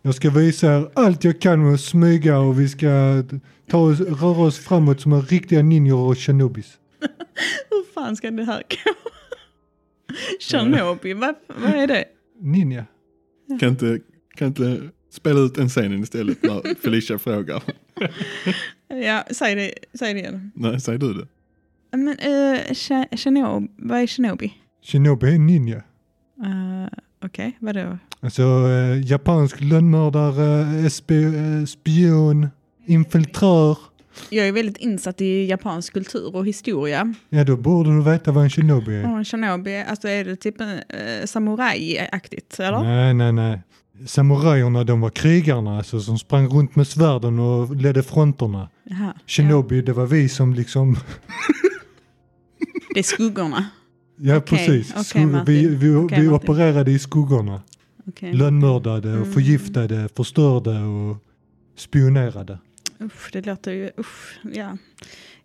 S3: Jag ska visa er allt jag kan med att smyga och vi ska ta oss, röra oss framåt som en riktiga ninjor och shinobis.
S4: Hur fan ska det här gå? Tjernobyl, vad, vad är det?
S3: Ninja?
S1: Kan inte, kan inte spela ut en scenen istället när Felicia frågar.
S4: Ja, säg det, säg det igen.
S1: Nej, säger du det?
S4: Men eh, Che- Chernobyl, vad är Chernobyl?
S3: Shinobi är ninja.
S4: Eh, Okej, vadå?
S3: Alltså eh, japansk lönnmördare, eh, esp- eh, spion, infiltrör.
S4: Jag är väldigt insatt i japansk kultur och historia.
S3: Ja då borde du veta vad en shinobi är.
S4: Och Chernobyl, alltså är det typ uh, samurajaktigt eller?
S3: Nej, nej, nej. Samurajerna de var krigarna alltså, som sprang runt med svärden och ledde fronterna.
S4: Jaha.
S3: Shinobi det var vi som liksom,
S4: Ja, det är skuggorna.
S3: ja
S4: Okej,
S3: precis,
S4: okej,
S3: Skugg-
S4: Martin.
S3: vi, vi,
S4: Okej,
S3: vi
S4: Martin.
S3: opererade i skuggorna.
S4: Okej.
S3: Lönnmördade och
S4: Mm.
S3: förgiftade, förstörde och spionerade.
S4: Usch, det låter ju... Usch, ja.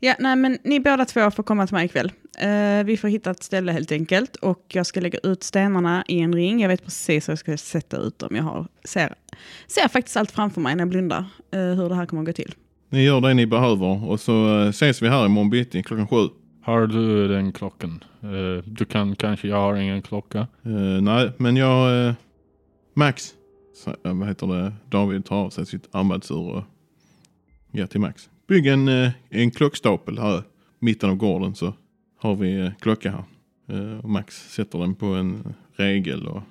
S4: Ja, nej men ni båda två får komma till mig ikväll. Eh, vi får hitta ett ställe helt enkelt och jag ska lägga ut stenarna i en ring. Jag vet precis hur jag ska sätta ut dem. Jag har, ser, ser faktiskt allt framför mig när jag blundar, eh, hur det här kommer att gå till.
S1: Ni gör det ni behöver och så eh, ses vi här imorgon bitti klockan sju.
S2: Har du den klockan? Eh, Du kan kanske, jag har ingen klocka.
S1: Eh, nej, men jag... eh, Max. Så, eh, vad heter det? David tar av sig sitt armbandsur och ger till Max. Bygg en, eh, en klockstapel här i mitten av gården så har vi eh, klocka här. Eh, och Max sätter den på en regel och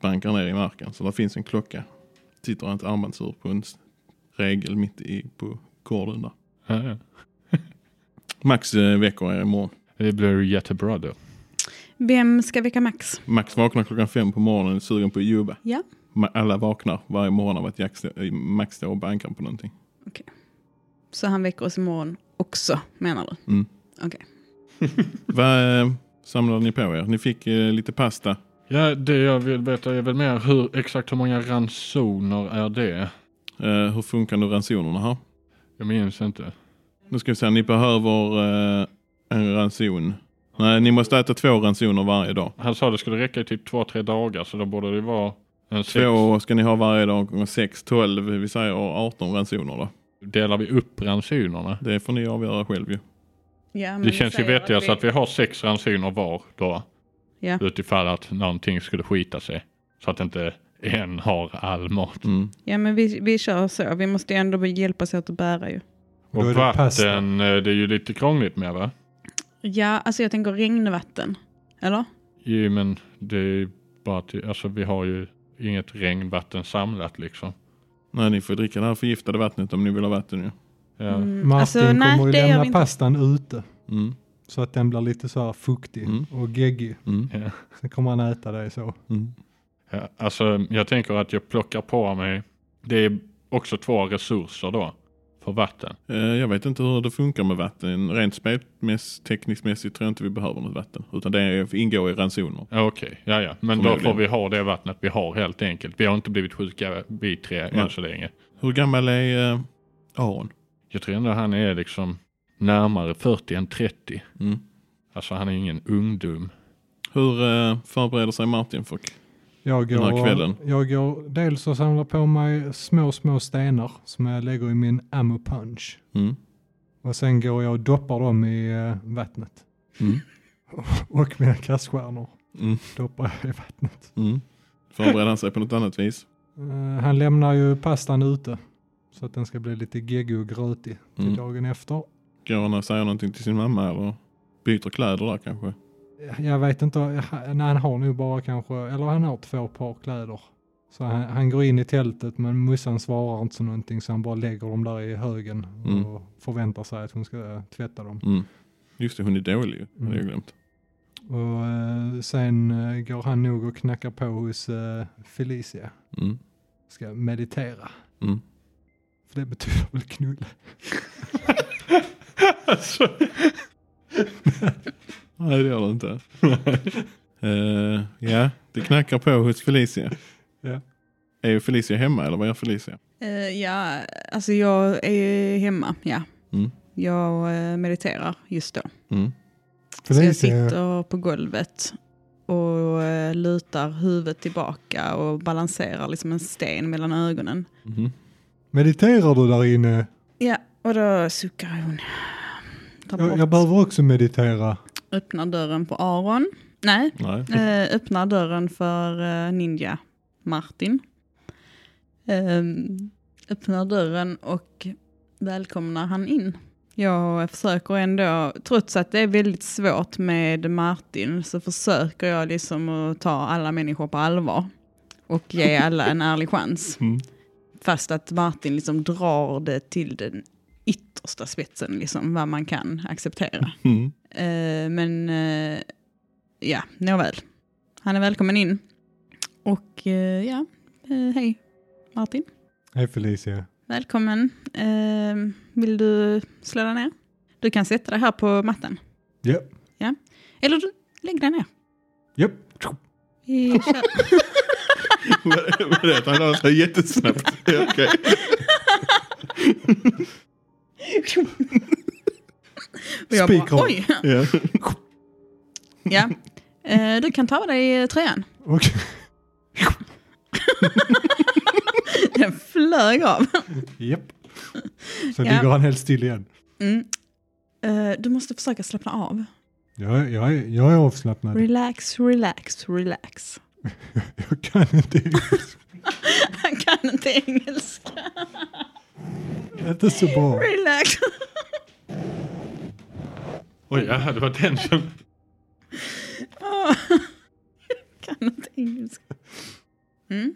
S1: bankar ner i marken. Så där finns en klocka. Sitter hans armbandsur på en s- regel mitt i på gården där.
S2: Ja, ja.
S1: Max eh, väcker er imorgon.
S2: Det blir jättebra då.
S4: Vem ska väcka Max?
S1: Max vaknar klockan fem på morgonen sugen på jobba.
S4: Ja.
S1: Ma- Alla vaknar varje morgon av att Jack stå, eh, Max står och bankar på någonting.
S4: Så han väcker oss imorgon också, menar du?
S3: Mm.
S1: Vad eh, samlade ni på er? Ni fick eh, lite pasta.
S2: Ja, det jag vill veta är väl mer hur, exakt hur många ransoner är det?
S1: Eh, hur funkar nu ransonerna här?
S2: Jag minns inte.
S1: Nu ska vi se, ni behöver eh, en ranson. Nej, ni måste äta två ransoner varje dag.
S2: Han sa det skulle räcka i typ två, tre dagar så då borde det vara en sex.
S1: Två ska ni ha varje dag gånger sex, tolv, vi säger 18 ransoner då.
S2: Delar vi upp ransonerna?
S1: Det får ni avgöra själv ju.
S4: Ja, men
S2: Det
S4: vi
S2: känns ju
S4: Mm, säger
S2: vettigast att vi har sex ransoner var då.
S4: Ja.
S2: Utifall att någonting skulle skita sig. Så att inte en har all mat.
S1: Mm.
S4: Ja, men vi, vi kör så. Vi måste ju ändå hjälpas åt att bära ju.
S3: Och då
S2: Och
S3: är det pasta.
S2: vatten, eh, det är ju lite krångligt med va?
S4: Ja, alltså jag tänker regnvatten. Eller?
S2: Jo men det är bara att, alltså vi har ju inget regnvatten samlat liksom.
S1: Nej, ni får dricka det här förgiftade vattnet om ni vill ha vatten ju.
S2: Ja.
S4: Mm,
S3: Martin kommer ju
S4: det gör
S3: lämna
S4: vi inte.
S3: pastan ute
S1: Mm.
S3: så att den blir lite så här fuktig
S1: Mm.
S3: och geggig.
S1: Mm.
S2: Ja.
S3: Sen kommer han äta det så.
S1: Mm.
S2: Ja, alltså jag tänker att jag plockar på mig, det är också två resurser då för vatten.
S1: Eh, Jag vet inte hur det funkar med vatten. Rent spelmässigt, tekniskt mässigt tror jag inte vi behöver något vatten. Utan det är- ingår i ransoner.
S2: Ja, Okej, ja ja, men då
S1: Förmodligen.
S2: får vi ha det vattnet vi har helt enkelt. Vi har inte blivit sjuka vi tre än
S1: Nej.
S2: så länge.
S1: Hur gammal är eh, Aron?
S2: Jag tror ändå han är liksom närmare 40 än 30.
S1: Mm.
S2: Alltså han är ingen ungdom.
S1: Hur eh, förbereder sig Martin för
S3: Jag
S1: Den här
S3: går,
S1: kvällen.
S3: jag går dels och samlar på mig små, små stenar som jag lägger i min ammo punch.
S1: mm.
S3: Och sen går jag och doppar dem i eh, vattnet.
S1: Mm.
S3: Och mina kaststjärnor
S1: Mm.
S3: doppar jag i vattnet.
S1: Mm. Förbereder han sig på något annat vis?
S3: Eh, han lämnar ju pastan ute. Så att den ska bli lite geggig och grötig till
S1: Mm.
S3: dagen efter.
S1: Går han och säger någonting till sin mamma eller byter kläder där kanske?
S3: Jag vet inte, han, nej, han har nog bara kanske, eller han har två par kläder. Så han, han går in i tältet men mussan svarar inte så någonting så han bara lägger dem där i högen
S1: Mm.
S3: och förväntar sig att hon ska eh, tvätta dem.
S1: Mm. Just det, hon är dålig ju. Det hade jag glömt.
S3: Och eh, sen eh, går han nog och knackar på hos eh, Felicia.
S1: Mm.
S3: Ska meditera.
S1: Mm.
S3: För det betyder väl knulla.
S2: alltså.
S1: Nej det gör det inte. Eh, ja, det knackar på hos Felicia.
S3: Ja.
S1: Är Felicia hemma eller vad gör Felicia?
S4: Eh, ja, alltså jag är ju hemma, ja.
S1: Mm.
S4: Jag eh, mediterar just då.
S1: Mm.
S4: Så jag sitter på golvet och eh, lutar huvudet tillbaka och balanserar liksom en sten mellan ögonen.
S1: Mhm.
S3: Mediterar du där inne?
S4: Ja, och då suckar hon. Tar bort,
S3: Jag, jag behöver också meditera.
S4: Öppnar dörren på Aron. Nej,
S1: Nej.
S4: eh, öppnar dörren för eh, Ninja Martin. Ehm, öppnar dörren och välkomnar han in. Jag försöker ändå, trots att det är väldigt svårt med Martin, så försöker jag liksom att ta alla människor på allvar och ge alla en ärlig chans.
S1: Mm.
S4: Fast att Martin liksom drar det till den yttersta spetsen, liksom, vad man kan acceptera.
S1: Mm.
S4: Eh, men eh, ja, nåväl. Han är välkommen in. Och eh, ja, eh, hej Martin.
S3: Hej Felicia.
S4: Välkommen. Eh, vill du slå dig ner? Du kan sätta dig här på mattan.
S3: Ja.
S4: ja. Eller du, lägg dig ner.
S3: Japp.
S4: Vi kör.
S1: Vad är det? Han har sig jättesnabbt. Ja, Okej.
S4: Och jag bara,
S3: Spikrak.
S4: Oj!
S1: Ja.
S4: Ja. Eh, du kan ta av dig tröjan.
S3: Okej.
S4: Den flög av.
S3: Japp. Så
S4: Ja.
S3: ligger han helt still igen.
S4: Mm. Eh, du måste försöka slappna av.
S3: Jag, är- jag, är- jag är avslappnad.
S4: Relax, relax, relax.
S3: Jag kan inte.
S4: Han kan inte engelska.
S3: Inte så bra.
S4: Relax.
S2: Oj, ja, det var den som...
S4: Åh. Jag kan inte engelska. Mm.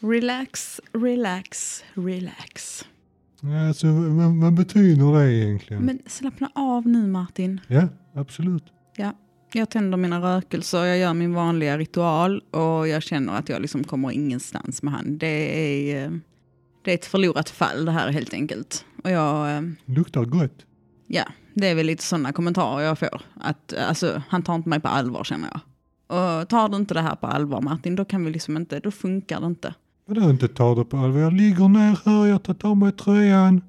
S4: Relax, relax, relax.
S3: Alltså, vad, vad betyder det egentligen?
S4: Men slappna av nu Martin.
S3: Ja, absolut.
S4: Jag tänder mina rökelser, jag gör min vanliga ritual och jag känner att jag liksom kommer ingenstans med han. Det är, eh, det är ett förlorat fall det här helt enkelt. Och jag, eh,
S3: Luktar gott.
S4: ja, det är väl lite sådana kommentarer jag får. Att eh, alltså, han tar inte mig på allvar känner jag. Och tar du inte det här på allvar Martin, då kan vi liksom inte, då funkar det inte.
S3: Vadå inte ta det på allvar? Jag ligger ner här, jag tar av mig tröjan.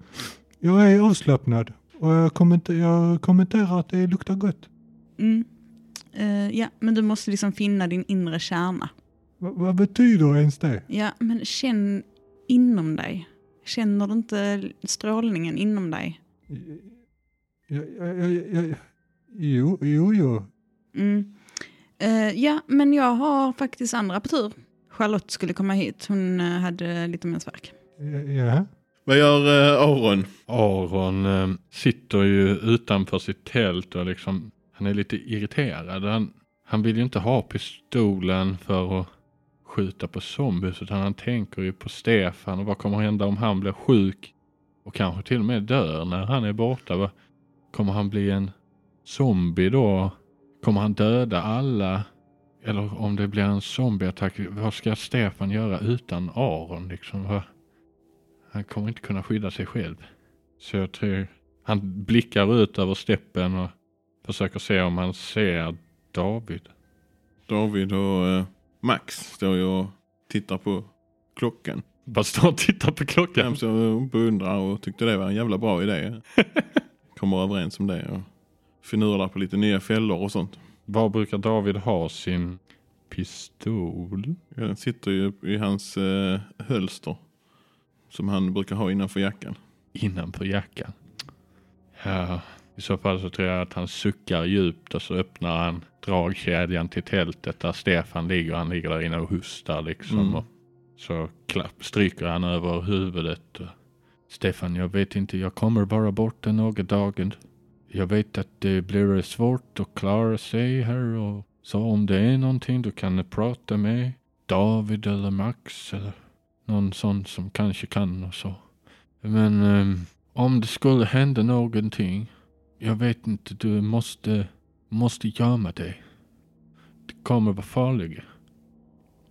S3: Jag är avslappnad. Och jag, kommenter- jag kommenterar att det luktar gott.
S4: Mm. Eh, ja, men du måste liksom finna din inre kärna.
S3: Va, vad betyder ens det?
S4: Ja, men känn inom dig. Känner du inte strålningen inom dig?
S3: Jag, jag, jag, jag, jo, jo, jo.
S4: Mm. Eh, ja, men jag har faktiskt andra på tur. Charlotte skulle komma hit. Hon eh, hade lite mensvärk.
S3: Ja.
S1: Vad gör eh, Aron?
S2: Aron eh, sitter ju utanför sitt tält och liksom, han är lite irriterad. Han, han vill ju inte ha pistolen för att skjuta på zombies utan han tänker ju på Stefan och vad kommer hända om han blir sjuk och kanske till och med dör när han är borta. Vad- Kommer han bli en zombie då? Kommer han döda alla? Eller om det blir en zombieattack, vad ska Stefan göra utan Aron liksom? Vad- han kommer inte kunna skydda sig själv. Så jag tror han blickar ut över steppen och försöker se om han ser David.
S1: David och eh, Max står ju och tittar på klockan.
S2: Bara står och tittar på
S1: Vem
S2: klockan.
S1: som beundrar och tyckte det var en jävla bra idé. Kommer överens om det och finurlar på lite nya fällor och sånt.
S2: Var brukar David ha sin pistol?
S1: Ja, Den sitter ju i hans eh, hölster. Som han brukar ha innanför jackan.
S2: Innanför jackan. Ja, i så fall så tror jag att han suckar djupt och så öppnar han dragkedjan till tältet där Stefan ligger. Han ligger där inne och hostar liksom.
S1: Mm.
S2: Och så klapp, stryker han över huvudet. Och, Stefan, jag vet inte, jag kommer bara borta några dagar. Jag vet att det blir svårt att klara sig här och så om det är någonting du kan prata med David eller Max eller någon sån som kanske kan och så. Men ehm, om det skulle hända någonting, jag vet inte, du måste, måste gömma dig. Det kommer vara farligt.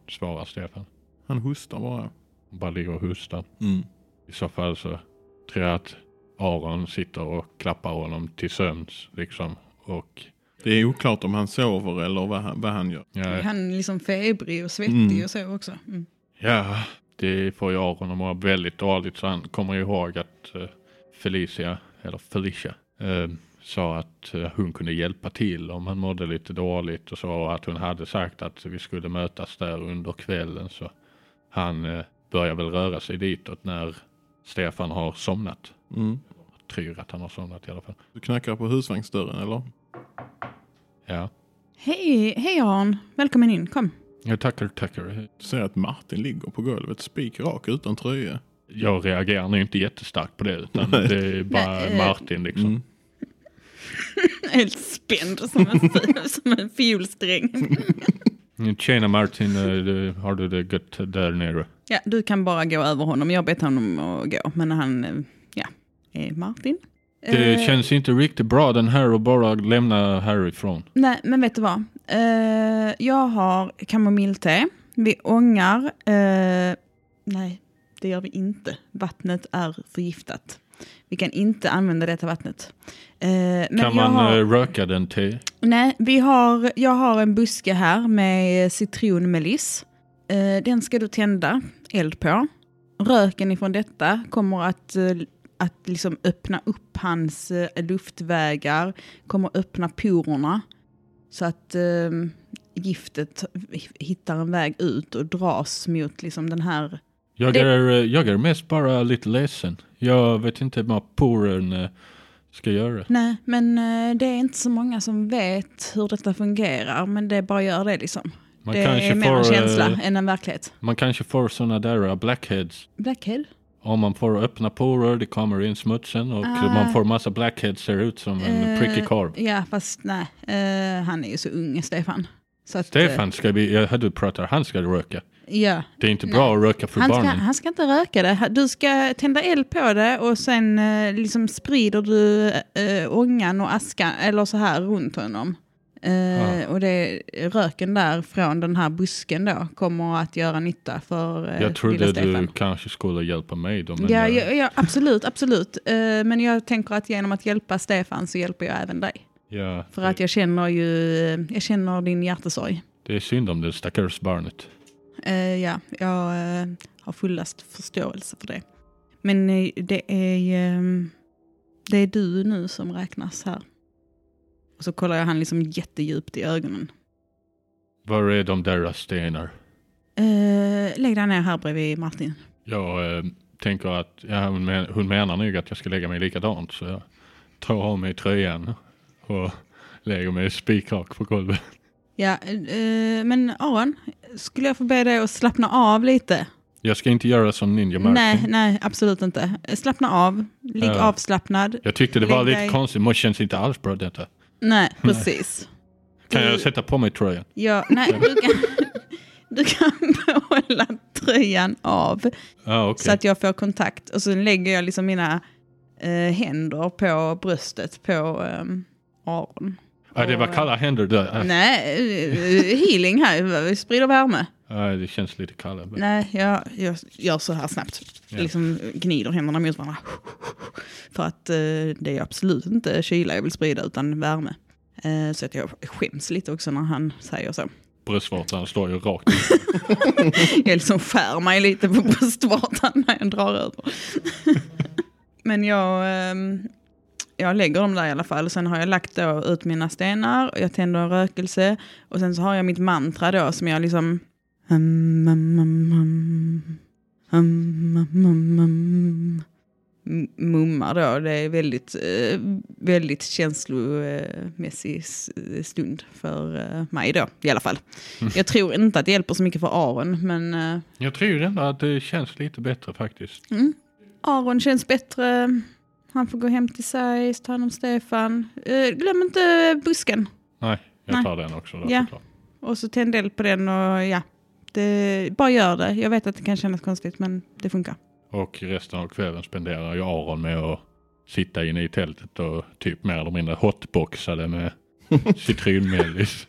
S2: Svarar Stefan.
S1: Han hostar bara.
S2: Han bara ligger och hostar.
S1: Mm.
S2: I så fall så tror jag att Aron sitter och klappar honom till sömns liksom. Och
S1: Det är oklart om han sover eller vad han, vad han gör.
S2: ja,
S4: Han är liksom febrig och svettig
S1: Mm.
S4: och så också. Mm.
S2: ja det får ju Aron att må väldigt dåligt så han kommer ju ihåg att eh, Felicia, eller Felicia, eh, sa att eh, hon kunde hjälpa till om han mådde lite dåligt och så och att hon hade sagt att vi skulle mötas där under kvällen så han eh, börjar väl röra sig ditåt när Stefan har somnat.
S1: Mm.
S2: Tror att han har somnat i alla fall.
S1: Du knackar på husvagnsdörren eller?
S2: Ja.
S4: Hej, hej Aron. Välkommen in, kom.
S2: Ja, tackar, tackar.
S1: Du ser att Martin ligger på golvet spikrak utan tröja.
S2: Jag reagerar nog inte jättestarkt på det utan
S1: Nej.
S2: det är bara
S4: Nej, eh,
S2: Martin liksom.
S1: Mm.
S4: Helt spänd som en, fi- som en fiolsträng.
S2: Tjena Mm, Martin, eh, du- har du det gött där nere?
S4: Ja, du kan bara gå över honom. Jag bett honom att gå, men han, eh, ja, eh, Martin.
S2: Det
S4: Eh,
S2: känns inte riktigt bra den här och bara lämna härifrån.
S4: Nej, men vet du vad? Eh, jag har kamomillte. Vi ångar. eh, nej, det gör vi inte. Vattnet är förgiftat. Vi kan inte använda detta vattnet. Eh, men
S2: kan
S4: jag
S2: man
S4: har,
S2: eh, röka den till?
S4: Nej, vi har, jag har en buske här med citronmeliss. Eh, den ska du tända eld på. Röken ifrån detta kommer att, eh, att liksom öppna upp hans eh, luftvägar, kommer öppna porerna så att eh, giftet hittar en väg ut och dras mot liksom den här...
S2: Jag
S4: Det-
S2: är, eh, jag är mest bara lite ledsen. Jag vet inte vad poren eh, ska göra.
S4: Nej, men eh, det är inte så många som vet hur detta fungerar, men det bara gör det liksom.
S2: Man
S4: det är
S2: kanske,
S4: mer en
S2: får, eh,
S4: känsla än en verklighet.
S2: man kanske får såna där eh, blackheads.
S4: Blackhead?
S2: Om man får öppna porer, det kommer in smutsen och
S4: Ah.
S2: man får massa blackheads ser ut som en
S4: Eh,
S2: prickig korv.
S4: Ja, fast nej. Eh, han är ju så ung, Stefan. Så att, eh,
S2: Stefan ska vi, jag hörde du prata, han ska röka.
S4: Ja.
S2: Det är inte bra att röka för
S4: Han ska,
S2: barnen.
S4: han ska inte röka det. Du ska tända eld på det och sen eh, liksom sprider du eh, ångan och askan eller så här runt honom. Eh, Och det, röken där från den här busken då kommer att göra nytta för eh,
S2: Jag trodde
S4: lilla
S2: du
S4: Stefan.
S2: kanske skulle hjälpa mig då. Men
S4: Ja,
S2: eh,
S4: ja, ja, absolut, absolut. Eh, men jag tänker att genom att hjälpa Stefan så hjälper jag även dig.
S2: ja,
S4: För att
S2: det,
S4: jag känner ju, jag känner din hjärtesorg.
S2: det är synd om det stackars barnet.
S4: Eh, ja, jag eh, har fullast förståelse för det. Men eh, det är, ehm, det är du nu som räknas här. Och så kollar jag han liksom jättedjupt i ögonen.
S2: Var är de där stenar?
S4: Eh, lägg dig ner här bredvid Martin.
S2: Jag eh, tänker att ja, hon, men, hon menar nog att jag ska lägga mig likadant så jag tar av mig tröjan och lägger mig spikrak på golvet.
S4: Ja, eh, men Aron, skulle jag få be dig att slappna av lite?
S2: Jag ska inte göra som Ninja Martin.
S4: Nej, nej, absolut inte. Eh, Slappna av, ligg
S2: Ja.
S4: avslappnad.
S2: Jag tyckte det var
S4: Lägg
S2: lite
S4: dig.
S2: konstigt, men känns inte alls bra detta.
S4: Nej, precis.
S2: Kan
S4: Du-
S2: jag sätta på mig tröjan?
S4: Ja, nej, du kan, du kan behålla tröjan av
S2: Ah, okej.
S4: så att jag får kontakt. Och så lägger jag liksom mina eh, händer på bröstet på ehm, Aron.
S2: ah, det var kalla händer där. Ah,
S4: Nej, eh, healing här, vi sprider värme.
S2: ah, det känns lite kallare.
S4: Nej, jag, jag gör så här snabbt.
S2: Ja.
S4: Liksom gnider händerna mot varandra. För att eh, det är absolut inte kyla jag vill sprida utan värme. Eh, så att jag skäms lite också när han säger så.
S2: Bröstvårtan står ju rakt ut.
S4: Jag liksom skär mig lite på bröstvårtan när jag drar över. Men jag, ehm, jag lägger dem där i alla fall. Sen har jag lagt då ut mina stenar, och jag tänder en rökelse och sen så har jag mitt mantra då som jag liksom... Hum, hum, hum, hum. Hum, hum, hum, hum. M- mummar då. Det är väldigt, eh, väldigt känslomässig s- stund för eh, mig då i alla fall. Jag tror inte att det hjälper så mycket för Aron, men eh,
S2: Jag tror ändå att det känns lite bättre faktiskt.
S4: mm. Aron känns bättre. Han får gå hem till sig, ta hand om Stefan. Eh, glöm inte busken.
S2: Nej, jag
S4: Nej.
S2: tar den också. Då,
S4: Ja.
S2: såklart.
S4: Och så tänd eld på den och ja. Det, bara gör det. Jag vet att det kan kännas konstigt, men det funkar.
S2: Och resten av kvällen spenderar jag Aron med att sitta inne i tältet och typ mer eller mindre hotboxade med citronmellis.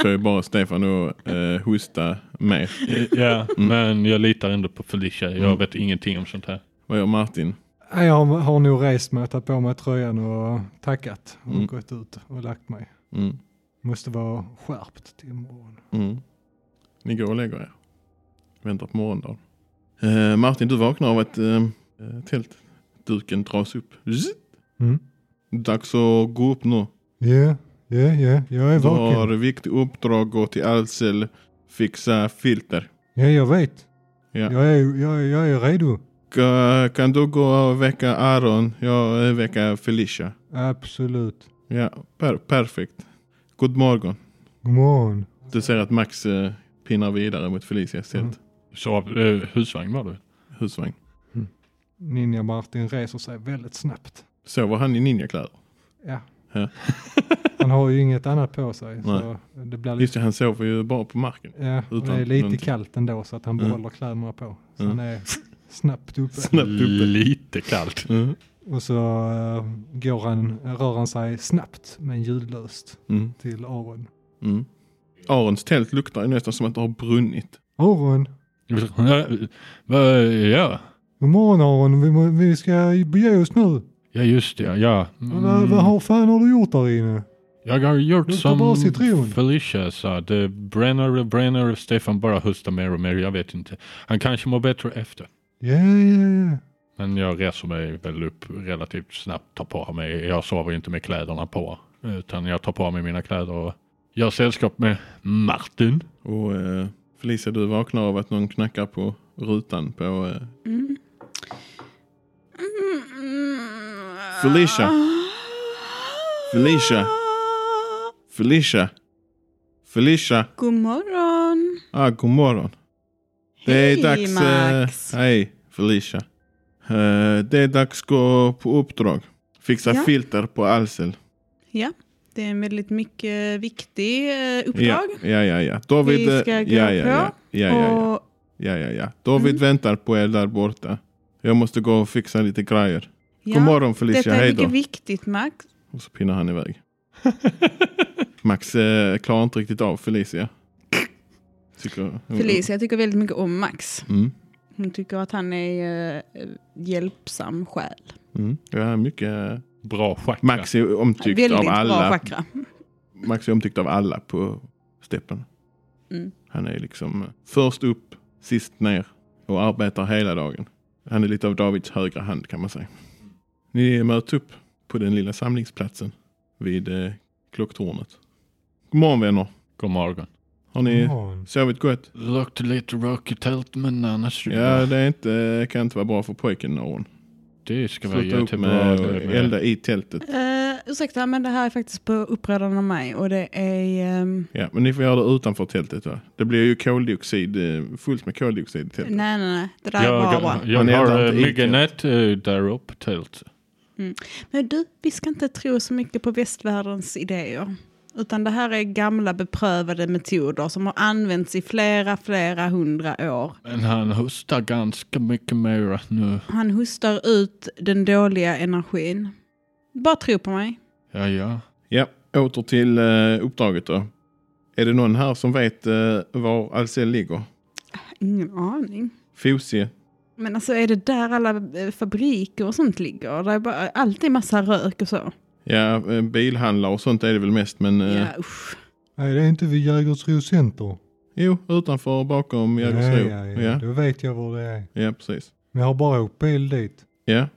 S1: Får ju bara Stefan att eh, hosta mer.
S2: ja,
S3: Mm.
S2: men jag litar ändå på Felicia. Jag
S1: Mm.
S2: vet ingenting om sånt här.
S1: Vad gör Martin?
S3: Nej, Jag har- har nog rest mig, tagit på mig tröjan och tackat och
S1: Mm.
S3: gått ut och lagt mig.
S1: Mm.
S3: Måste vara skärpt till imorgon.
S1: Mm. Ni går och lägger er. Väntar på morgondagen. Eh, Martin, du vaknar av att eh, eh, tältduken dras upp. Zzzt.
S3: Mm.
S1: Dags att gå upp nu.
S3: Ja, ja, ja, jag är
S1: Du har
S3: vaken.
S1: viktigt uppdrag. Gå till Ahlsell. Fixa filter.
S3: Ja, jag vet.
S1: Ja.
S3: Jag, är, jag, är- jag är redo.
S1: Ka- Kan du gå och väcka Aron? Jag eh, väcker Felicia.
S3: Absolut.
S1: Ja, per perfekt. God morgon.
S3: God morgon.
S1: Du ser att Max eh, pinnar vidare mot Felicias tält.
S2: Så eh, husvagn var det?
S3: Mm.
S1: Husvagn.
S3: Ninja Martin reser sig väldigt snabbt.
S1: Sover han i ninjakläder?
S3: Ja.
S1: Ja.
S3: Han har ju inget annat på sig. Så det blir
S1: Just
S3: lite,
S1: det, han sover ju bara på marken.
S3: ja, och det
S1: utan
S3: är lite
S1: någonting.
S3: kallt ändå så att han
S1: Mm.
S3: behåller kläderna på. Så
S1: Mm.
S3: han är snabbt uppe.
S1: Snabbt uppe.
S2: Lite kallt.
S1: Mm.
S3: Och så eh, går han, rör han sig snabbt men ljudlöst
S1: Mm.
S3: till Aron.
S1: Mm. Arons tält luktar ju nästan som att det har brunnit.
S3: Aron!
S2: Ja, vad- ja.
S3: God morgon Aron, vi, må- vi ska bege oss nu.
S2: ja, just det. Ja.
S3: Vad, vad har fan har du gjort där inne?
S2: Jag har gjort
S3: Luktar
S2: som
S3: bara citron.
S2: Felicia sa. Det bränner och bränner. Stefan bara hostar mer och mer. Jag vet inte. Han kanske mår bättre efter.
S3: Ja, ja, ja.
S2: Men jag reser mig väl upp relativt snabbt. Tar på mig. Jag sover inte med kläderna på. Utan jag tar på mig mina kläder och gör sällskap med Martin.
S1: Och eh, Felicia, du vaknar av att någon knackar på rutan på... Eh,
S4: Mm. Mm.
S1: Felicia. Felicia. Felicia! Felicia!
S4: God morgon.
S1: Ah, god morgon. Det är
S4: Hej
S1: dags... eh,
S4: Max.
S1: hej Felicia. Eh, det är dags att gå på uppdrag. Fixa
S4: Ja.
S1: filter på Alsel.
S4: Det är en väldigt mycket viktig eh,
S1: Ja,
S4: uppdrag.
S1: ja, ja, ja. David,
S4: Vi ska
S1: eh,
S4: gå
S1: ja, ja,
S4: på
S1: ja, ja, ja, ja.
S4: Och
S1: ja, ja, ja. David
S4: Mm.
S1: väntar på er där borta. Jag måste gå och fixa lite grejer. God
S4: ja,
S1: morgon Felicia,
S4: detta är
S1: hej då.
S4: mycket viktigt Max.
S1: Och så pinnar han iväg. Max eh, klarar inte riktigt av Felicia. Tycker,
S4: Felicia jag tycker väldigt mycket om Max.
S1: Mm.
S4: Hon tycker att han är eh, hjälpsam själ.
S1: Mm. Ja, mycket.
S2: Bra schack.
S1: Max är omtyckt
S4: väldigt
S1: av
S4: bra
S1: alla.
S4: chakra.
S1: Max är omtyckt av alla på steppen.
S4: Mm.
S1: Han är liksom först upp, sist ner och arbetar hela dagen. Han är lite av Davids högra hand kan man säga. Ni möts upp på den lilla samlingsplatsen vid eh, klocktornet. God morgon vänner.
S2: God morgon.
S1: Har ni
S3: Morgon.
S1: sovit gott?
S2: Luktar lite rökigt tält men annars
S1: Ja, det är inte, kan inte vara bra för pojken Noron.
S2: det ska vara
S1: Sluta upp
S2: jättebra.
S1: med att elda i tältet.
S4: Uh, ursäkta, men det här är faktiskt på upprörande av mig och det är... ehm,
S1: Ja, men ni får göra det utanför tältet. Va? Det blir ju koldioxid, eh, fullt med koldioxid i tältet.
S4: nej, nej, nej. Det där är bara bra.
S2: Jag, jag
S1: Man eldar
S2: har eh,
S1: inte i
S2: mycket nät eh, där uppe tält.
S4: Men du, vi ska inte tro så mycket på västvärldens idéer. Utan det här är gamla beprövade metoder som har använts i flera, flera hundra år.
S2: Men han hostar ganska mycket mer nu.
S4: Han hostar ut den dåliga energin. Bara tro på mig.
S2: Ja, ja.
S1: Ja, åter till eh, uppdraget då. Är det någon här som vet eh, var Ahlsell ligger?
S4: Ingen aning.
S1: Fosie?
S4: Men alltså är det där alla eh, fabriker och sånt ligger? Det är bara, alltid massa rök och så.
S1: Ja, eh, bilhandlare och sånt är det väl mest, men eh,
S4: Ja, usch.
S3: Nej, det är inte vid Jägersro Center.
S1: jo, utanför och bakom Jägersro.
S3: Ja, ja, ja.
S1: ja.
S3: Då vet jag var det är.
S1: ja, precis.
S3: Men jag har bara åkt bil dit.
S1: Ja,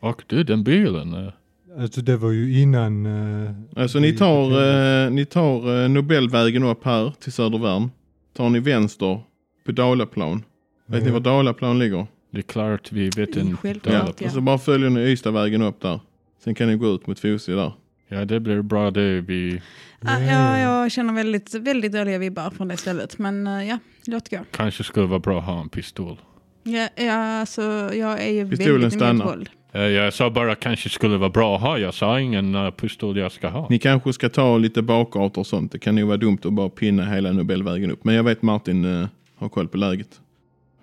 S2: Och du, den bilen. eh,
S3: Alltså det var ju innan... eh,
S1: alltså
S3: vi
S1: ni
S3: gick på
S1: tar,
S3: tältet.
S1: eh, ni tar eh, Nobelvägen upp här till Södervärn. Tar ni vänster på Dalaplan. Vet ni var Dalaplan ligger?
S2: Det är klart vi vet
S4: Det är
S2: inte.
S4: självklart,
S1: Och
S4: Ja.
S1: så bara följer ni Ystadvägen upp där. Sen kan ni gå ut mot Fosie där.
S2: Ja, det blir bra det. Vi
S4: Ja,
S3: Ja.
S4: Ah,
S1: Mm.
S4: ja, jag känner väldigt, väldigt dåliga vibbar från det stället. Men eh, ja, låt gå.
S2: kanske skulle vara bra att ha en pistol.
S4: Ja, ja, alltså, jag är ju
S1: Pistolen
S4: väldigt
S1: stannar.
S4: emot våld.
S2: Eh, Jag sa bara kanske skulle vara bra att ha. Jag sa ingen eh, pistol jag ska ha.
S1: Ni kanske ska ta lite bakgator och sånt. Det kan nog vara dumt att bara pinna hela Nobelvägen upp. Men jag vet Martin eh, har koll på läget.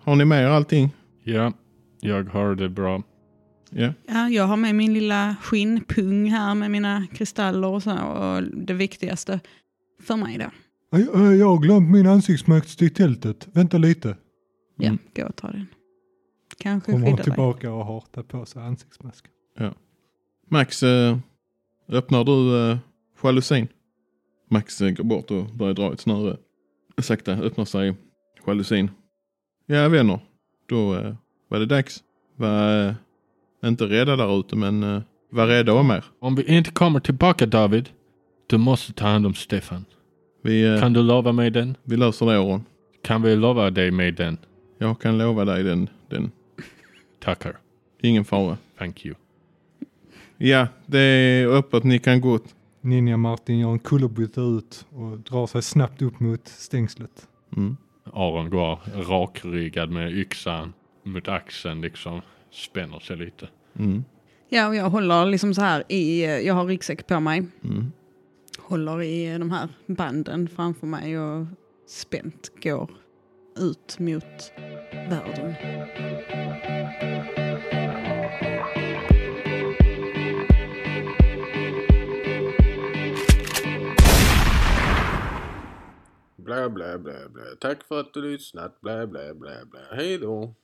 S1: Har ni med er allting?
S2: Ja, jag har det bra.
S1: Ja.
S4: Ja, jag har med min lilla skinnpung här med mina kristaller och så. Och det viktigaste för mig då.
S3: Aj, aj, Jag har glömt min ansiktsmask i tältet. Vänta lite.
S4: Ja,
S1: Mm.
S4: gå och ta den. Kanske
S3: Kommer hon
S4: skydda dig.
S3: tillbaka och har tagit på sig ansiktsmasken.
S1: Max, eh, öppnar du eh, jalusin? Max eh, går bort och börjar dra ett snöre. Sakta öppnar sig jalusin. Ja vänner, då eh, var det dags. Var eh, inte rädda där ute men eh, var rädda om er.
S2: Om vi inte kommer tillbaka David, du måste ta hand om Stefan.
S1: Vi, eh,
S2: Kan du lova mig den?
S1: vi löser det Aron.
S2: Kan vi lova dig med den?
S1: Jag kan lova dig den, den.
S2: Tackar.
S1: Ingen fara.
S2: Thank you.
S1: Ja, det är öppet. Ni kan gå ut.
S3: Ninja Martin gör en kullerbytta ut och drar sig snabbt upp mot stängslet.
S1: Mm.
S2: Aron går rakryggad med yxan mot axeln liksom. Spänner sig lite.
S1: Mm.
S4: Ja, och jag håller liksom så här i, jag har ryggsäck på mig.
S1: Mm.
S4: Håller i de här banden framför mig och spänt går ut mot världen.
S5: Blä, blä, blä, blä. Tack för att du lyssnat. Blä, blä, blä, blä. Hej då.